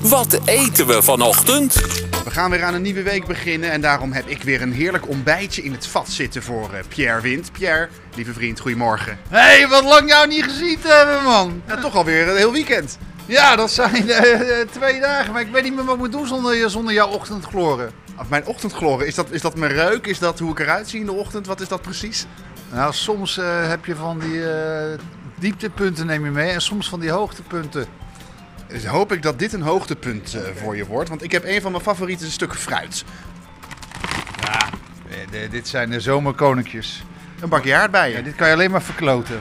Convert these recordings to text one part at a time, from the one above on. Wat eten we vanochtend? We gaan weer aan een nieuwe week beginnen en daarom heb ik weer een heerlijk ontbijtje in het vat zitten voor eh, Pierre Wind. Pierre, lieve vriend, goedemorgen. Hé, hey, wat lang jou niet gezien te hebben, man. Ja, toch alweer een heel weekend. Ja, dat zijn eh, eh, twee dagen, maar ik weet niet meer wat ik moet doen zonder, je- zonder jouw ochtendgloren. Of mijn ochtendgloren, is dat, is dat mijn reuk? Is dat hoe ik eruit zie in de ochtend? Wat is dat precies? Nou, soms eh, heb je van die eh, dieptepunten neem je mee en soms van die hoogtepunten. Dus hoop ik dat dit een hoogtepunt eh, voor je wordt, want ik heb een van mijn favoriete stukken fruit. Eh, de- dit zijn de zomerkoninkjes. Een bakje aardbeien. Ja, dit kan je alleen maar verkloten.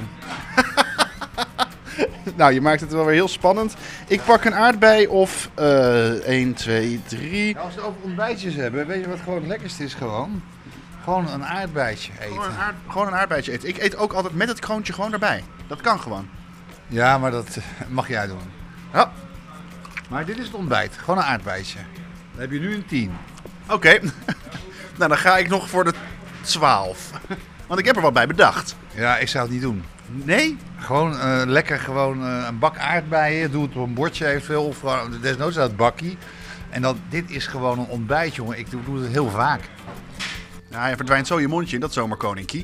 Nou, je maakt het wel weer heel spannend. Ik pak een aardbei of eh 1, 2, 3. Nou, als we het over ontbijtjes hebben, weet je wat gewoon het lekkerste is gewoon? Gewoon een aardbeidje Gewoon een, eten. aard, gewoon een aardbeidje eten. Ik eet ook altijd met het kroontje gewoon erbij. Dat kan gewoon. Ja, maar dat eh, mag jij doen. Ja. Maar dit is het ontbijt, gewoon een aardbeidje. Dan heb je nu een 10. Oké. nou, dan ga ik nog voor de 12. Want ik heb er wat bij bedacht. Ja, ik zou het niet doen. Nee? Gewoon eh, lekker gewoon eh, een bak aardbeien. Doe het op een bordje eventueel. Of gewoon, desnoods uit het bakkie. En dan, dit is gewoon een ontbijt, jongen. Ik doe, doe het heel vaak. Nou, je verdwijnt zo je mondje in dat zomerkoninkje.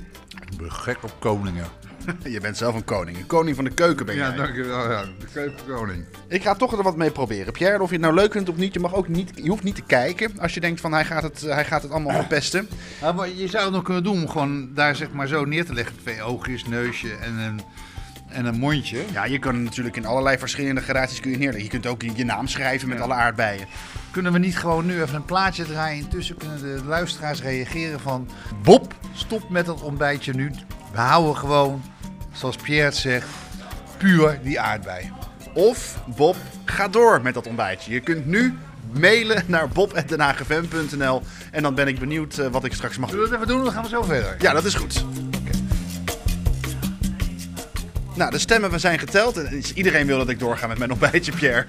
Ik ben gek op koningen. Je bent zelf een koning. Een koning van de keuken ben jij. dankjewel. Ja, de keukenkoning. ik ga toch er wat mee proberen. Pierre, en of je het nou leuk vindt of niet, je, mag ook niet, je hoeft niet te kijken. Als je denkt van hij gaat het, hij gaat het allemaal verpesten. Ja, maar je zou het nog kunnen doen om gewoon daar zeg maar zo neer te leggen. Twee oogjes, neusje en een, en een mondje. Ja, je kan natuurlijk in allerlei verschillende gradaties kun je neerleggen. Je kunt ook je naam schrijven met alle aardbeien. Kunnen we niet gewoon nu even een plaatje draaien? Intussen kunnen de luisteraars reageren van... Bob, stop met dat ontbijtje nu. We houden gewoon, zoals Pierre het zegt, puur die aardbei. Of Bob, ga door met dat ontbijtje. Je kunt nu mailen naar bob.denhagevm.nl en dan ben ik benieuwd eh, wat ik straks mag doen. Zullen we dat even doen? Dan gaan we zo verder. Ja, dat is goed. Nou, de stemmen we zijn geteld. En is- Iedereen wil dat ik doorga met mijn ontbijtje, Pierre.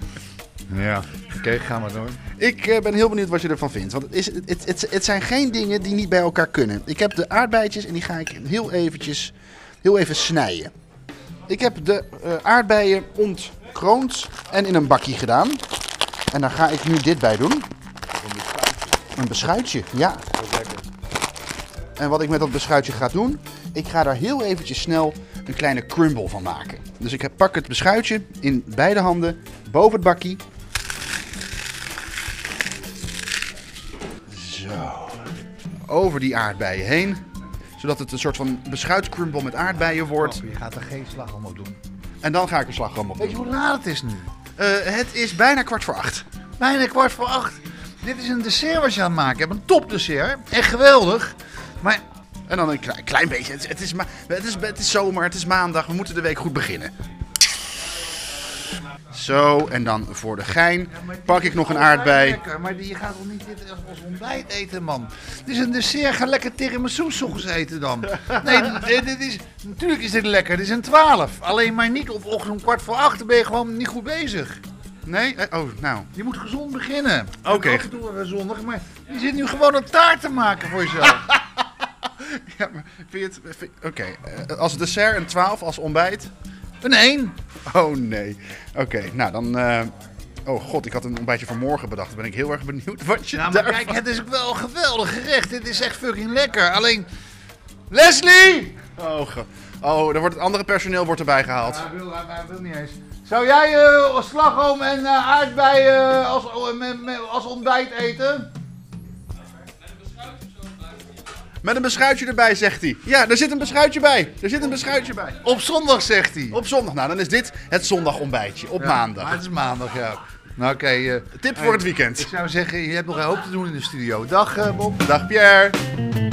Ja. Oké, gaan we door. Ik eh, ben heel benieuwd wat je ervan vindt. Want het, is, het, het, het zijn geen dingen die niet bij elkaar kunnen. Ik heb de aardbeidjes en die ga ik heel eventjes, heel even snijden. Ik heb de eh, aardbeien ontkroond en in een bakje gedaan. En daar ga ik nu dit bij doen. Een beschuitje, ja. En wat ik met dat beschuitje ga doen, ik ga daar heel eventjes snel een kleine crumble van maken. Dus ik heb- pak het beschuitje in beide handen boven het bakkie Zo. Over die aardbeien heen. Zodat het een soort van beschuitcrumble met aardbeien wordt. Oh, Je gaat er geen slagroom op doen. En dan ga ik er slagroom op Weet doen. je hoe laat het is nu? Eh, het is bijna kwart voor acht. Bijna kwart voor acht. Dit is een dessert wat je aan het maken hebt. Een topdessert. Echt geweldig. Maar En dan een klein, klein beetje. Het, het, is ma- het, is, het is zomer, het is maandag. We moeten de week goed beginnen. Zo, en dan voor de gein pak ik nog een aardbei. Lekker, maar die- je gaat toch niet dit als- als ontbijt eten, man? Dit is een dessert. Ga lekker tiramisu 's ochtends eten dan. Nee, dit, dit is, natuurlijk is dit lekker. Dit is een 12. Alleen maar niet op ochtend om kwart voor acht. Dan ben je gewoon niet goed bezig. Nee? Eh, Oh, nou. Je moet gezond beginnen. Oké. En Af en toe wel weer zondig, maar je zit nu gewoon een taart te maken voor jezelf. Ja, maar vind je het... vind- Oké, eh, als dessert een 12, als ontbijt een 1. Oh nee. Oké, nou dan. eh, Oh god, ik had een ontbijtje van morgen bedacht. Dan ben ik heel erg benieuwd wat je Ja, maar daarvan- kijk, het is ook wel een geweldig gerecht. Dit is echt fucking lekker. Alleen, Leslie! Oh, ge- oh, er wordt het andere personeel wordt erbij gehaald. Hij wil, hij- hij wil niet eens. Zou jij eh, slagroom en eh, aardbeien eh, als, oh, met- met- als ontbijt eten? Met een beschuitje erbij, zegt hij. Ja, er zit een beschuitje bij. Er zit een beschuitje bij. Op zondag, zegt hij. Op zondag, nou dan is dit het zondagontbijtje. Op maandag. Maar het is maandag, ja. Nou, oké. eh, Tip voor het weekend. ik zou zeggen, je hebt nog een hoop te doen in de studio. Dag, eh, Bob. Dag Pierre.